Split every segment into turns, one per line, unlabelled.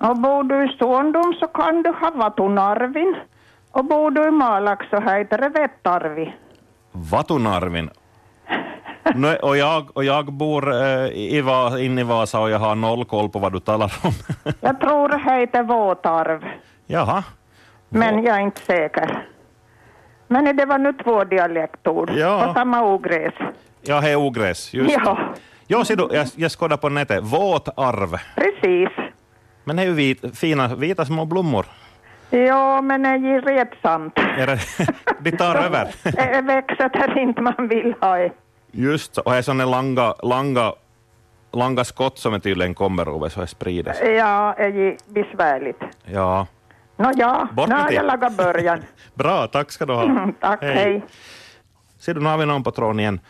Och bor du i Ståndom så kan du Havatunarvin. Och bor du i Malax så heter det Vettarvi.
Vatunarvin. Nej, och, jag, och jag bor eh, i Va, inne i Vasa och jag har noll koll på vad du talar om.
Jag tror det heter Våtarv,
Jaha.
men jag är inte säker. Men det var nu två dialektord
Ja.
på samma ogräs.
Ja, hej ogräs. Just.
Ja,
Jo, ser du, jag, jag skådar på nätet. Våtarv.
precis.
Men det är ju vit, fina, vita små blommor.
Ja, men det är ju retsamt.
Är det, de tar över.
Det växer där inte man vill ha det.
Just så. och här är sådana långa, långa, långa skott som är tydligen kommer över så här sprides.
Ja, det är ju besvärligt.
Ja,
Nå ja,
Bort
nu
med
har
det.
jag lagat början.
bra, tack ska du ha.
Mm, Tack, hej.
Ser du, nu har vi någon på tråden igen.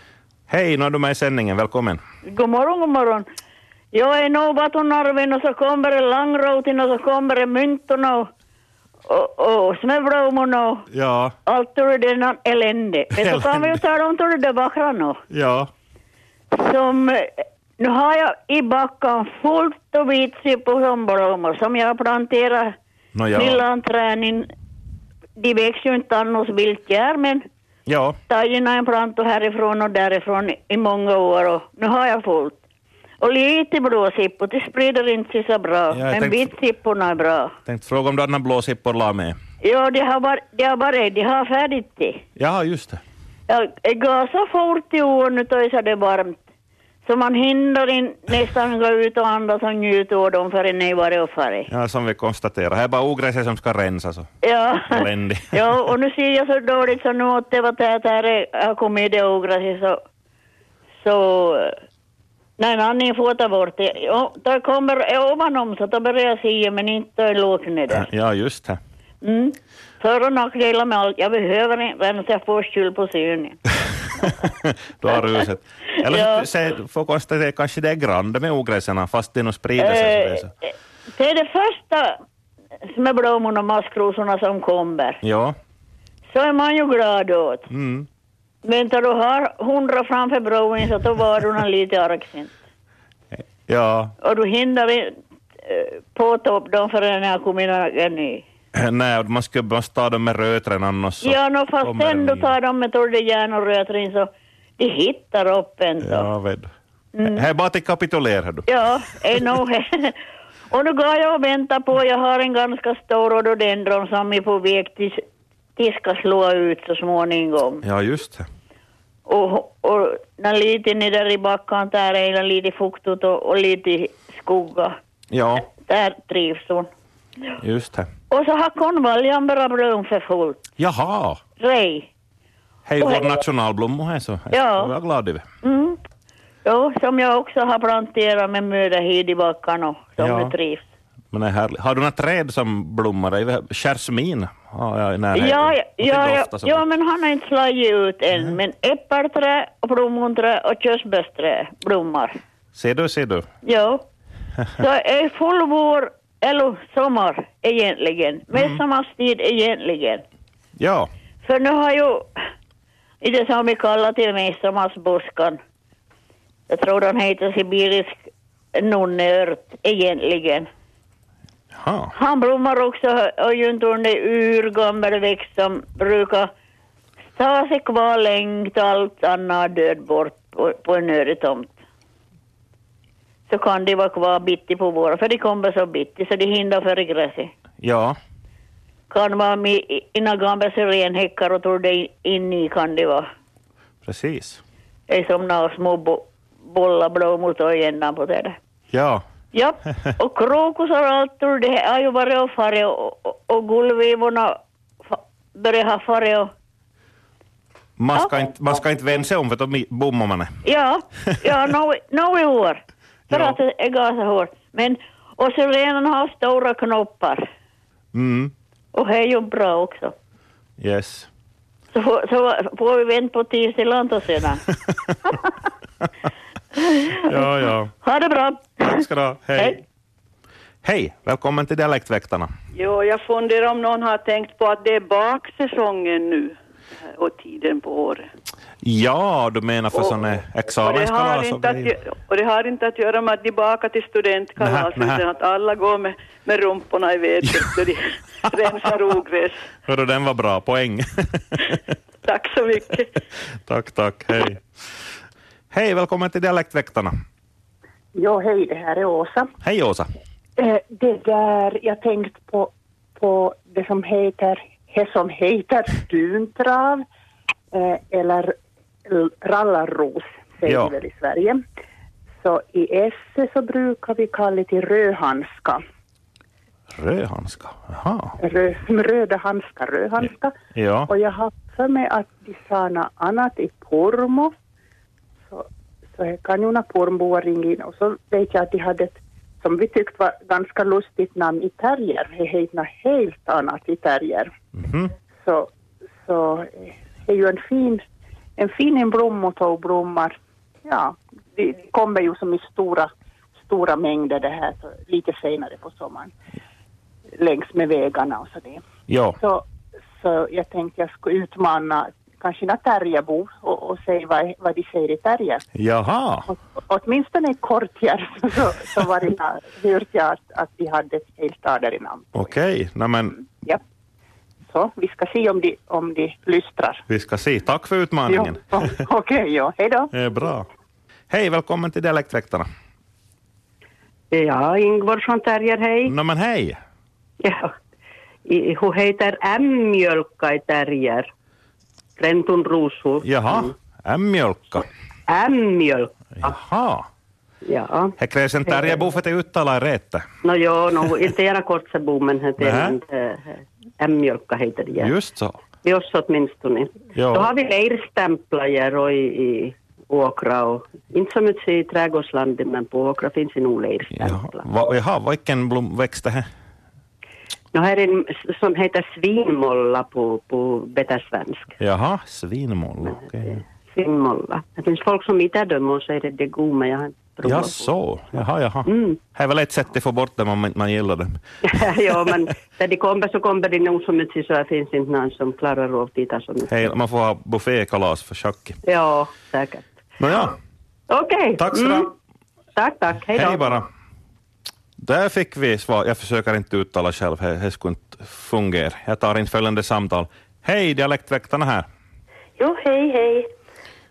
Hej, nu är du med i sändningen, välkommen.
God morgon, god morgon. Jag är nog Vatonarvin och så kommer det Langrotin och så kommer det Myntorna och, och, och Snöblommorna och
Ja,
allt det där nan- elände. Men så kan vi ju tala om det där Backran
ja,
som eh, nu har jag i backan fullt och vitt på somblommor som jag har planterat
no, ja.
lilla träning. De växer ju inte annars vilt här men
ja,
tagit en plantor härifrån och därifrån i många år och nu har jag fullt. Och lite blåsippor, det sprider inte sig så bra.
Ja, jag
men
tänkte-
vitsipporna är bra.
tänkte fråga om du hade några blåsippor la med.
Ja, de har bara, de har, bara, de har färdigt det.
Ja, just det.
Jag jag går så fort i år nu då är så det är varmt. Så man hinner in, nästan gå ut och andas och njuta av dem förrän det är varit och farit.
Ja, som vi konstaterar. Här är bara ogräset som ska rensas. och-
Ja.
Eländig.
ja, och nu ser jag så dåligt så nu åt det var det här är- har kommit i det ogräset så... Så... eh, Nej, men han får ta bort det. Ja, då kommer eh, ovanom så då börjar jag se men inte lågt ner där.
Ja, just det.
Mm. För och nackdelar med allt. Jag behöver inte rensa, jag får skyll på synen.
du har ruset. Eller
Ja.
så se, får konstatera kanske det är grann med ogräsen fast det nog sprider sig. så det är så.
Eh, eh, det är det första med blommorna och maskrosorna som kommer.
Ja,
Så är man ju glad åt.
mm.
Men då du har hundra framför bron så då var du nog lite argsint.
ja.
Och du hinner inte eh, påta upp dem förrän jag kommer ihåg en ny.
Nej, man skulle bara ta dem med rötren annars. så
Ja, nå fast
kommer det
ändå
nya.
tar de med torrde järn och rödtrin så de hittar upp en så. Ja,
Ja, vet du. Här är bara att kapitulera du.
Mm. ja är nog. och nu går jag och väntar på, jag har en ganska stor rhododendron som är på väg till de ska slå ut så småningom.
Ja, just det.
Och, och när lite nere där i backen där är det lite fuktigt och, och lite skugga.
Ja,
Där trivs hon.
just det.
Och så har konvaljan börjat blom för fullt.
Jaha!
Rej.
Hej, vår nationalblomma här så.
Ja.
Jag är glad över.
Mm. Jo, som jag också har planterat med möda hit i backarna som
Ja.
nu trivs.
Men det är härligt. Har du några träd som blommar? i- Jasmin har jag i närheten.
ja,
Och
ja,
det
ja,
är
ja,
ofta som-
ja, men han har inte slagit ut än.
Mm.
Men äppelträ och plommonträ och körsbärsträ blommar.
Ser du, ser du.
Jo. Så är full vår, eller sommar
Mm.
egentligen. Midsommarstid egentligen.
Ja,
För nu har ju i det som vi kallar till midsommarsbuskan. Jag tror den heter sibirisk nonneört egentligen.
Jaha.
Han blommar också och ju inte under urgammal växt som brukar ta sig kvar länge till allt annat död bort på, på en öde tomt. Så kan de vara kvar bitti på våren, för de kommer så bitti så de hinner före gräset
ja.
kan vara med i- innan gamla syrenhäckar och tror det in i kan det vara.
Precis.
Det är som några små bo- bollar blommor och ändan på det där.
Ja,
Ja, och krokusar och allt tror det har ju varit och farit och, och, och gullvivorna fa- börjar ha farit och
man ska,
Ja.
inte, man ska inte vända sig om för då mi- bommar man.
ja, ja, nog no i år. För
Ja.
att det är gasahår. Men, och syrenerna har stora knoppar
Mm.
och det är ju bra också.
Yes.
Så, får- så får vi vänta på tisdagen och sedan.
Ja, ja.
Ha det bra!
Tack ska du ha. Hej.
Hej.
Hej, välkommen till Dialektväktarna.
Jo, jag funderar om någon har tänkt eh, på att det är baksäsongen nu och tiden på året.
Ja, du menar för sådana
Och det, har
examenskalas och
inte att,
grejer.
gö- och det har inte att göra med att de bakar till studentkalaset
Nähä, nähä.
utan att alla går med, med rumporna i vädret då de rensar ogräs.
Hörru, den var bra. Poäng.
Tack så mycket.
tack, tack. Hej. Hej, välkommen till Dialektväktarna.
Jo, hej, det här är Åsa.
Hej Åsa.
Eh, det där, jag tänkte på, på det som heter, det som heter duntrav eh, eller l- rallarros, säger
Ja.
vi väl i Sverige. Så i Esse så brukar vi kalla det till rödhandska,
Rödhandska. Jaha.
rö, röda handskar, rödhandska.
Ja.
Och jag har för mig att de sa något annat i Pormo. Så, så här kan ju några Pormboar ringa in. Och så vet jag att de hade ett som vi tyckte var ganska lustigt namn i terrier. Det heter något helt annat i terrier.
Mhm.
Så, så eh, det är ju en fin, en fin en blomma och blommar. Ja, det det kommer ju som i stora, stora mängder det här så lite senare på sommaren. Längs med vägarna och så det.
Ja.
Så, så jag tänkte jag skulle utmana kanske några terrierbor och, och se vad, vad de säger i terrier.
Jaha.
Åt, åtminstone i Kortjärv så, så var det, na- hörde jag att, att de hade ett helt stader i namn.
Okej, Nej, men
Ja. Så vi ska se om de, om de lystrar.
vi ska se. Tack för
Jo,
utmaningen.
o- Okej, ja. Hej då.
Det är bra. Hej, välkommen till Dialektväktarna.
Ja, Ingvar från Terjer, hej.
Nej men hej.
Ja. I- Hon heter M-mjölka i Terjer. Rentun ruusu.
Jaha. M-mjölka.
M-mjölka.
Jaha.
Ja.
Här krävs en terrierbo för att uttala är rätt.
No joo, no inte gärna kortsebo, men det
Nähä.
är inte... M-mjölka heter det. ja.
Just så.
Vi också åtminstone.
Ja.
Då har vi leirstämplare och i, i åkra och inte så mycket i trädgårdslandet, men på åkra finns det nog
Jaha,
leirstämplar.
va, jaha vilken blomväxt det här?
Nu här är en No s- som heter svinmolla på, på bettersvensk.
Jaha, svinmål. Okay.
Svinmolla. Det finns folk som inte dömer och säger att det är god, men jag har inte
Ja,
provat.
så. Jaha, jaha.
Mm.
Det är väl ett sätt att få bort dem om man, man gillar dem.
ja, men när de kommer så kommer de nog så mycket så det finns inte någon som klarar av att titta så mycket.
Hej, man får ha buffékalas för tjack.
Ja, säkert.
Nåja,
Okej.
tack så du
Mm. Tack, tack. Hej då.
Hej bara. Där fick vi svar. Jag försöker inte uttala själv, det det skulle inte fungera. Jag tar in följande samtal. Hej, dialektväktarna här.
Jo, hej, hej.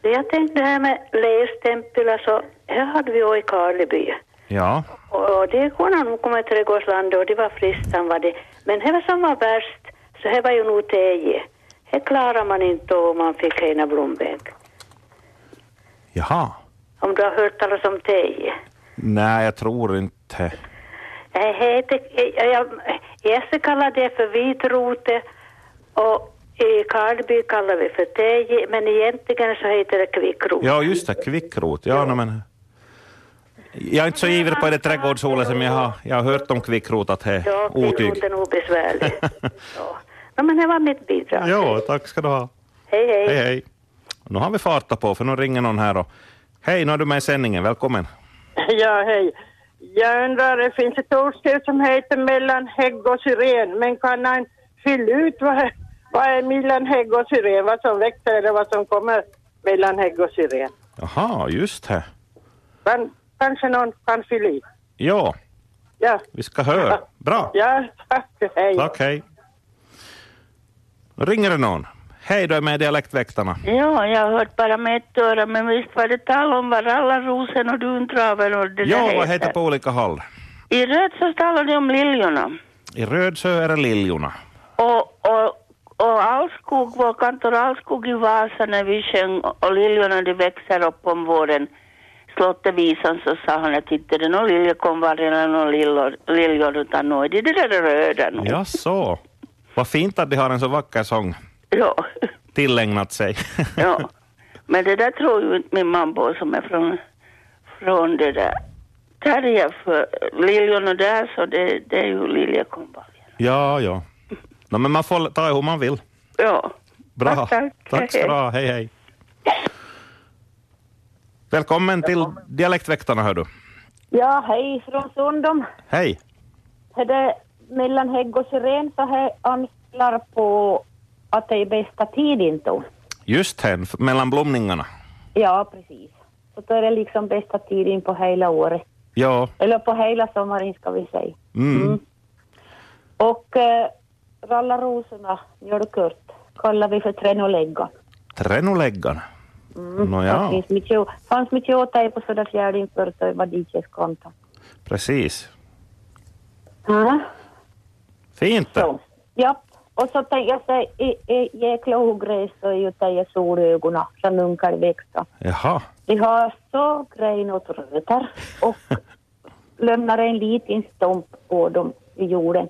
Det Jag tänkte det här med lerstämpel, alltså, här hade vi ju i Karleby.
Ja,
Och och det kunde nog komma till trädgårdslandet och det var fristan var det. Men det var som var värst, så det var ju nog teje. Det klarar man inte om man fick hena blomväg.
jaha.
Om du har hört talas om teje.
Nej, jag tror inte.
Det heter, eh, jag, Jesse kallar det för vitrote och i Karleby kallar vi för teje, men egentligen så heter det kvickrot.
Ja, just det, kvickrot. Ja, nej, men. Jag är inte så ivrig på det trädgårdsordet som jag har, jag har hört om kvickrot, att det
Ja,
är
det
otyg.
låter nog besvärligt. ja. No, men det var mitt bidrag.
Jo, tack ska du ha.
Hej, hej.
Hej, hej. Nu har vi fartat på, för nu ringer någon här och Hej, nu är du med i sändningen. Välkommen.
Ja, hej. Jag undrar, det finns ett ordstäv som heter mellan hägg och syren, men kan han fylla ut vad, vad är mellan hägg och syren, vad som växer eller vad som kommer mellan hägg och syren?
Jaha, just det.
Kan, kanske någon kan fylla i?
Ja,
Ja,
vi ska höra. Bra.
ja tack, hej.
Tack, hej. Nu ringer det någon. Hej, du är med i Dialektväktarna.
Ja, jag har hört bara med ett öra, men visst var det tal om vad rallarrosen och duntraven och det
Ja,
där
vad heter på olika håll?
I röd så talade de om liljorna.
I Rödsjö är det liljorna.
Och, och, och allskog, vår kantor allskog i Vasa när vi sjöng och liljorna de växer upp om våren. Slottevisan så sa han att inte det någon liljekonvalj eller någon liljor, liljor utan nu är det det där röda nu.
Ja, så. Vad fint att de har en så vacker sång
Ja.
tillägnat sig.
ja. Men det där tror ju inte min mambo som är från, från det där Tarja för liljorna där så det, det är ju liljekonvaljen.
ja, ja. No, men man får ta hur man vill.
Ja.
Bra.
Tack, tack.
tack ska du ha. Hej, hej. Välkommen till Dialektväktarna, hör du.
Ja, hej från Sundom.
Hej.
Är Det mellan hägg och syren så här ansplar på att det är bästa tid inte.
Just här, f- mellan blomningarna.
Ja, precis. Så då är det liksom bästa tiden på hela året.
Ja.
Eller på hela sommaren ska vi säga.
Mm.
Och eh, rallarosorna, mjölkört, kallar vi för tränolägga.
Tränoläggarna.
Mm.
Nåja.
Det finns mycket, å- fanns mycket åt dig på Söderfjärden förr, så det var DJs konto.
Precis.
Mm.
Fint. det.
Ja, och så tänkte jag säga, i- i- jäkla ogräs så är ju teje solögonen som unkelväxter.
Jaha.
Vi har så grejen åt rötter och lämnar en liten stump på dem i jorden.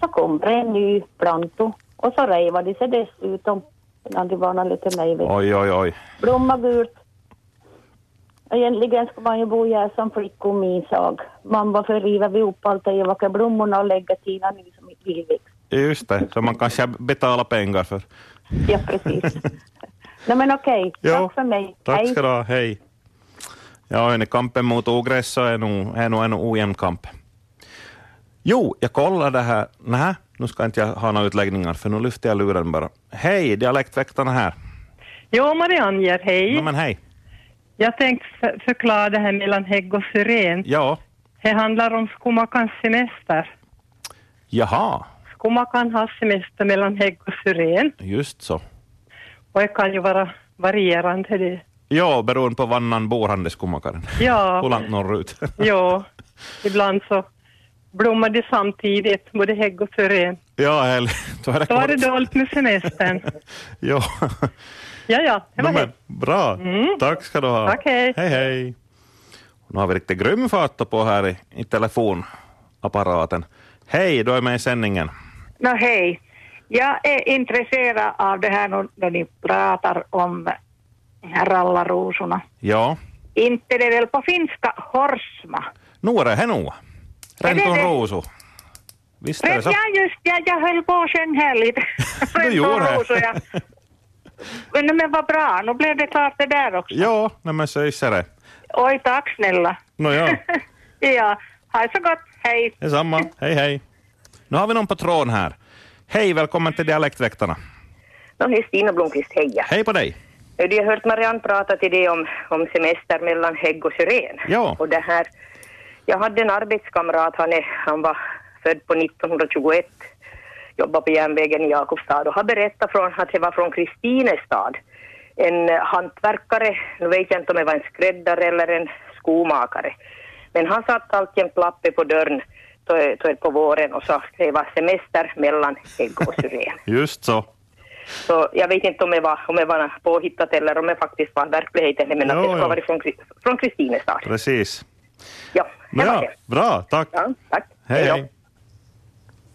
Så kommer en ny planto och så revar de sig dessutom innan de varnar lite mig. vet.
Oj, oj, oj.
Blomma gult. Egentligen ska man ju bo här som flicka och min sag. Man varför river vi upp allt de vackra blommorna och lägger tina nu som i tillväxt?
Just det, som man kanske betalar pengar för.
Ja, precis. Nej men okej,
Jo,
tack för mig.
Tack ska du ha, hej. Ja, hörni, kampen mot ogräs så är nog, är nog en ojämn kamp. Jo, jag kollade här. Nä, nu ska inte jag ha några utläggningar, för nu lyfter jag luren bara. Hej, dialektväktarna här.
Jo, Marianne Gerd, hej.
No, men hej.
Jag tänkte f- förklara det här mellan hägg och syren.
Ja,
Det handlar om skomakans semester.
jaha,
Skomakaren har semester mellan hägg och syren
just så.
och det kan ju vara varierande det.
Ja, beroende på var man bor, han det skomakaren. Hur
Ja,
långt norrut.
ja. Ibland så blommar det samtidigt, både hägg och syren.
ja, hel, då är det
Då är
klart.
det dåligt med semestern.
Ja,
Ja, ja, det var
no, men,
det.
bra. Tack ska du ha.
Tack, hej.
Hej, hej. Nu har vi riktigt grym fart på här i, i telefonapparaten. Hej, du är med i sändningen.
Nå hej. Jag är intresserad av det här nu när ni pratar om de här rallarrosorna.
Ja,
Inte det är väl på finska horsma?
nu är det här nu. Renton
det?
Rosu. Visst är det
Rätt,
så?
ja just ja, jag höll på att sjunga här lite.
No
Rätt
gjorde det.
rosor, ja. Men, men vad bra, nu blev det klart det där också.
Ja, nej men så är det.
Oj, tack snälla.
Nåja,
Ja, ha det så gott, hej.
detsamma. Hej, hej. Nu har vi någon på tråden här. Hej, välkommen till Dialektväktarna.
No, hej Stina Blomqvist, heja.
Hej på dig.
Hej. Du har hört Marianne prata till dig om, om semester mellan hägg och syren.
Ja.
Och det här, jag hade en arbetskamrat, han, är, han var född på 1921, jobbade på järnvägen i Jakobstad och har berättat från, att det var från Kristinestad. En eh, hantverkare, nu vet jag inte om det var en skräddare eller en skomakare, men han satt alltjämt lappe på dörren då, då på våren och sa att det var semester mellan hägg och syren.
Just så.
Så jag vet inte om det var, om det var påhittat eller om det faktiskt var verkligheten. Men att det ska ha varit från, Kri- från Kristinestad.
Precis.
Ja, det var
Nåja,
det.
bra, tack.
Ja, tack.
Hej, hej.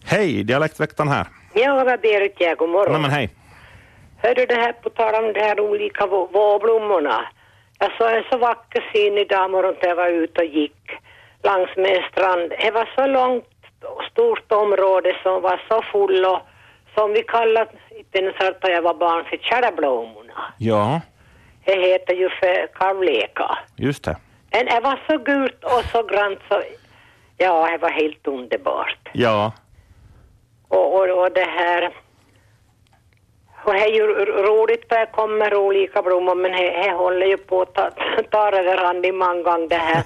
Hej, Dialektväktaren här.
Ja, det är Berit här. God morgon.
Nej men hej.
Hör du det här på tal om de här olika vå- vårblommorna. Jag såg en så vacker syn idag morgon när jag var ute och gick langs med en strand. Det var så långt och stort område som var så fullt och som vi kallat i Tennisarp där jag var barn för tjäderblommorna.
Ja,
Det heter ju för kavleka.
just det.
Men det var så gult och så grant så ja, det var helt underbart.
Ja,
Och, och, och det här... Och det är ju r- roligt för det kommer olika blommor men det det håller ju på att ta, ta överhand i många gånger det här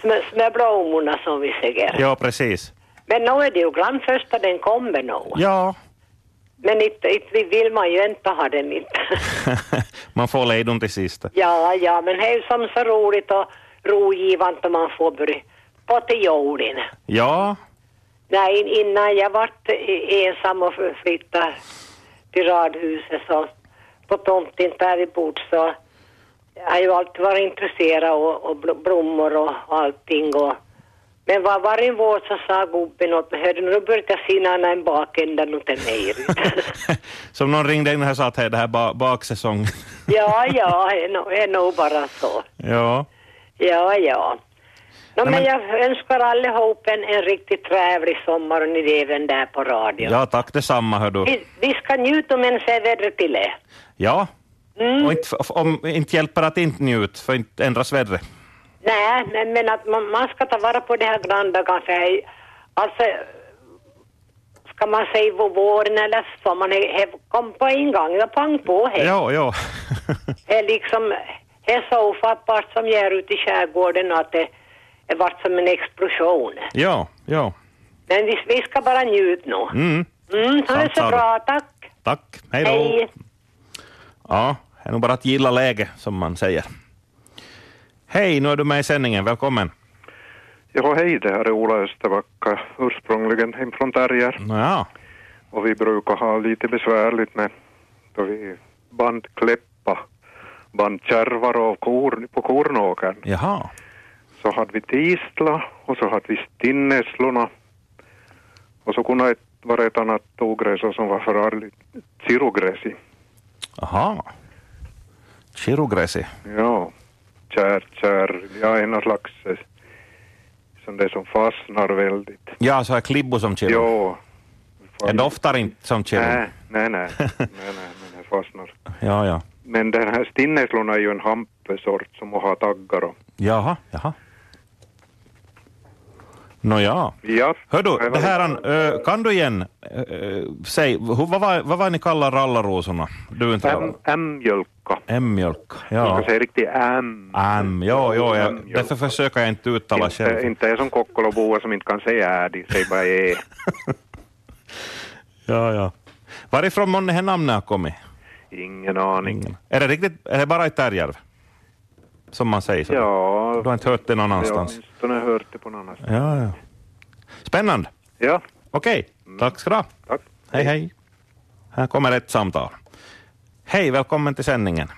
smö, smöblommorna som vi säger.
ja precis.
Men nu är det ju grann första den kommer nu.
Ja,
Men inte, inte vi vill man ju inte ha den inte.
man får lejdon till sist.
ja, ja, men det är ju som så roligt och rogivande om man får bry på till jorden.
Ja,
Nej, in- innan jag vart eh, ensam och f- flyttade till radhuset så på tomten där vi bor så jag har ju alltid varit intresserad och, och bl- blommor och allting och men var varje vår så sa gubben åt mig, hörde nu började jag se när en bakända åt en mejeri.
som någon ringde in här och sa att hej, det här ba- baksäsong.
ja, ja, det är nog- det är nog bara så.
ja,
Ja, ja. No,
Nej,
men...
men-
jag önskar allihop en, en riktigt trevlig sommar och ni är även där på radion.
ja tack detsamma hör du.
Vi, vi ska njuta men se vädret till er.
Ja,
Mm.
och inte, om, inte hjälper att inte njuta, för inte ändras vädret.
Nej, men, men att man, man ska ta vara på det här granda kanske. Alltså, ska man säga, på våren eller sommaren, he, kom på en gång, då pang på här.
Ja, ja.
Det är liksom, det är så ofattbart som jag är ute i skärgården att det har varit som en explosion.
Ja, ja.
Men vi, vi ska bara njuta nu.
Mm.
Mm, ha det
Sant sa
så
du.
bra, tack.
Tack, hej då.
Hej.
Ja, det är nog bara att gilla läge, som man säger. Hej, nu är du med i sändningen. Välkommen.
Ja, hej, det här är Ola Österbacka, ursprungligen hemifrån Terjer.
Ja.
Och vi brukar ha lite besvärligt med då vi bandkläppa bandkärvar och korn, på kornåkern.
Jaha.
Så hade vi tisla och så hade vi stinneslorna. Och så kunde ett vara ett annat ogräs som var förargligt, cirogräsi.
Aha. Chirogresi.
Ja, kär, kär, ja en slags eh, sån där som fastnar väldigt.
Ja, så här klibbo som chiro.
Jo.
Det doftar inte som chiro.
Nej, nej, nej, nej, nej, men den fastnar.
Ja, ja.
Men den här stinneslon är ju en hampesort som har taggar och...
Jaha, jaha. Nåja.
Ja,
Hördu, det här, an- ö, kan du igen, ö, ö, säg, hu- vad var, vad var ni kallar rallarrosorna? Du är inte
M- M-mjölka.
M-mjölka,
Jag
ja.
ska säga riktigt M.
M, ja, ja, ja. därför försöker jag inte uttala själv.
Inte, inte jag som kokkoloboa som inte kan säga ä, de säger bara ä.
Ja, ja. Varifrån månne det namnet har kommit?
Ingen aning.
Är det riktigt, är det bara i Tärjärv? Som man säger så?
Ja.
Du har inte hört det någon
Jag
annanstans?
åtminstone hört det på någon annanstans.
Ja, ja. Spännande.
Ja.
Okej, tack ska du ha.
Tack.
Hej, hej. Här kommer ett samtal. Hej, välkommen till sändningen.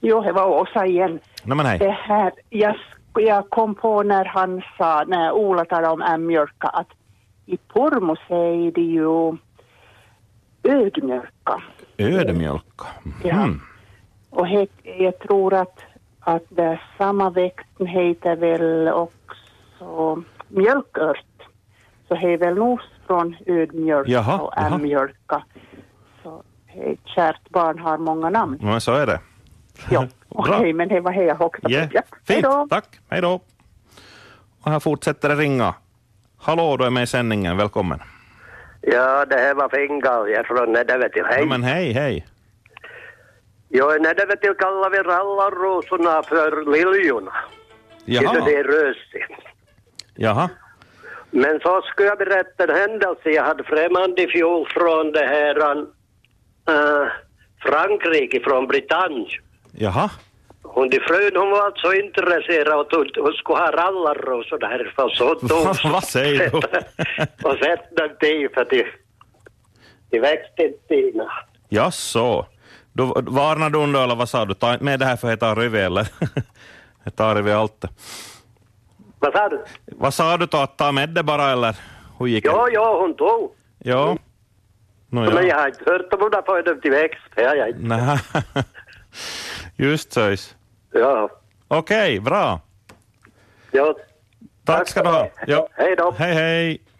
Jo, det var Åsa igen.
No, men
Det
hej.
här, jag, sk- jag kom på när han sa, när Ola talade om ämmjölka, att i Pormo säger de ju ödmjölka.
Ödmjölka.
Ja.
Mm.
Och he, jag tror att, att det är samma växten heter väl också mjölkört. Så det är väl nog från ödmjölka
Jaha,
och
jaha.
ämmjölka. Så he, kärt barn har många namn.
Men så är det.
Ja,
Bra.
Okej, men det var det jag hoppades på.
Yeah.
Ja.
Fint, tack. Hej då. Och här fortsätter det ringa. Hallå, du är med i sändningen. Välkommen.
Ja, det här var Fingal. Jag är från Nädevetil. Hej.
No, men hej, hej.
Jo, i Nädevetil kallar vi rallarrosorna för liljorna.
Jaha.
Inte det är rösi.
Jaha.
Men så skulle jag berätta en händelse. Jag hade främmande i fjol från det här eh, Frankrike, från Britannien.
Jaha.
Hon de frun hon var alltså intresserad och tog, hon skulle ha rallarrosor därifrån så hon tog
Vad säger du?
och satte dem till för att de, de växte inte innan.
Jaså. Då varnade du under, eller vad sa du? Ta inte med det här för jag tar revy, eller? jag tar revy allt.
Vad sa du?
Vad sa du då, att ta med det bara, eller? Hur gick det?
Ja, ja, hon tog.
Ja. Nå,
Men
ja.
jag har inte hört om hon har fått dem till växt. Det har jag inte.
Nä. Just såis.
Ja.
Okej, bra.
Ja.
Tack ska du ha. Ja.
Hej då.
Hej, hej.